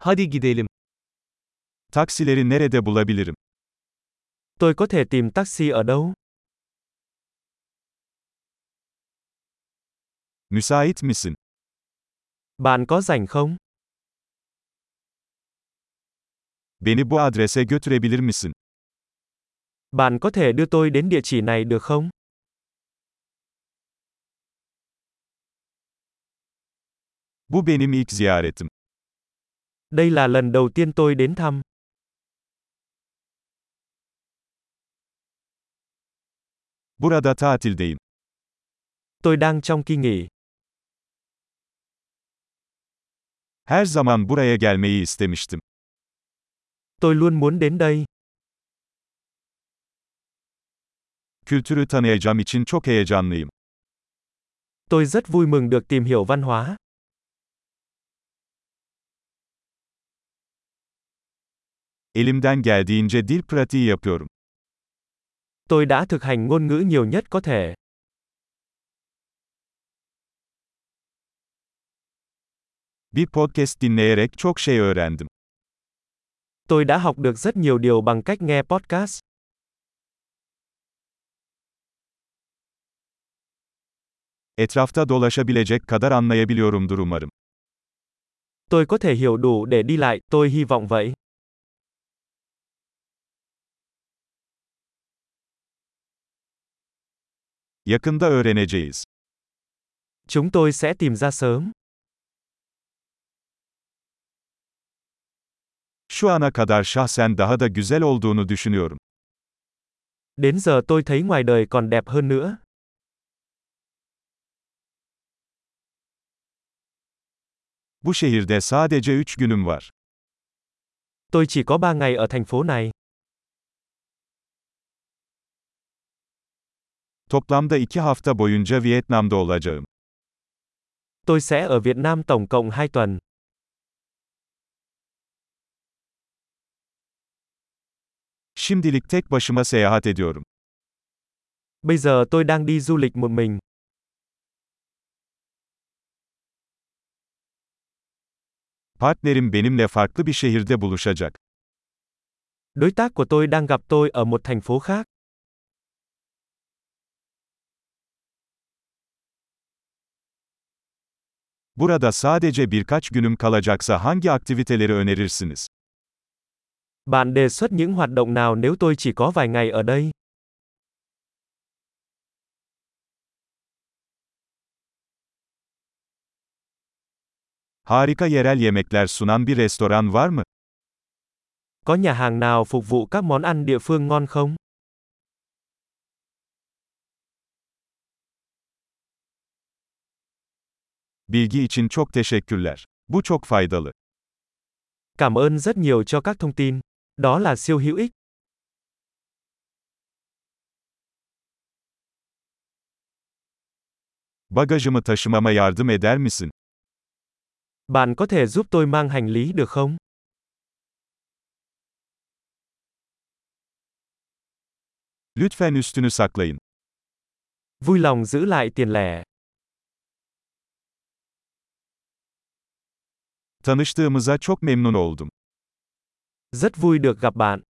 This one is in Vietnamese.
Hadi gidelim. Taksileri nerede bulabilirim? Tôi có thể tìm taxi ở đâu? Müsait misin? Bạn có rảnh không? Beni bu adrese götürebilir misin? Bạn có thể đưa tôi đến địa chỉ này được không? Bu benim ilk ziyaretim. Đây là lần đầu tiên tôi đến thăm. Burada tatildeyim. Tôi đang trong kỳ nghỉ. Her zaman buraya gelmeyi istemiştim. Tôi luôn muốn đến đây. Kültürü tanıyacağım için çok heyecanlıyım. Tôi rất vui mừng được tìm hiểu văn hóa. Elimden geldiğince dil pratiği yapıyorum. Tôi đã thực hành ngôn ngữ nhiều nhất có thể. Bir podcast dinleyerek çok şey öğrendim. Tôi đã học được rất nhiều điều bằng cách nghe podcast. Etrafta dolaşabilecek kadar anlayabiliyorumdur umarım. Tôi có thể hiểu đủ để đi lại, tôi hy vọng vậy. Yakında öğreneceğiz. Chúng tôi sẽ tìm ra sớm. Şu ana kadar şahsen daha da güzel olduğunu düşünüyorum. Đến giờ tôi thấy ngoài đời còn đẹp hơn nữa. Bu şehirde sadece 3 günüm var. Tôi chỉ có 3 ngày ở thành phố này. Toplamda 2 hafta boyunca Vietnam'da olacağım. Tôi sẽ ở Việt Nam tổng cộng 2 tuần. Şimdilik tek başıma seyahat ediyorum. Bây giờ tôi đang đi du lịch một mình. Partnerim benimle farklı bir şehirde buluşacak. Đối tác của tôi đang gặp tôi ở một thành phố khác. Burada sadece birkaç günüm kalacaksa hangi aktiviteleri önerirsiniz? Bạn đề xuất những hoạt động nào nếu tôi chỉ có vài ngày ở đây? Harika yerel yemekler sunan bir restoran var mı? Có nhà hàng nào phục vụ các món ăn địa phương ngon không? Bilgi için çok teşekkürler. Bu çok faydalı. Cảm ơn rất nhiều cho các thông tin. Đó là siêu hữu ích. Bagajımı taşımama yardım eder misin? Bạn có thể giúp tôi mang hành lý được không? Lütfen üstünü saklayın. Vui lòng giữ lại tiền lẻ. Tanıştığımıza çok memnun oldum. Rất vui được gặp bạn.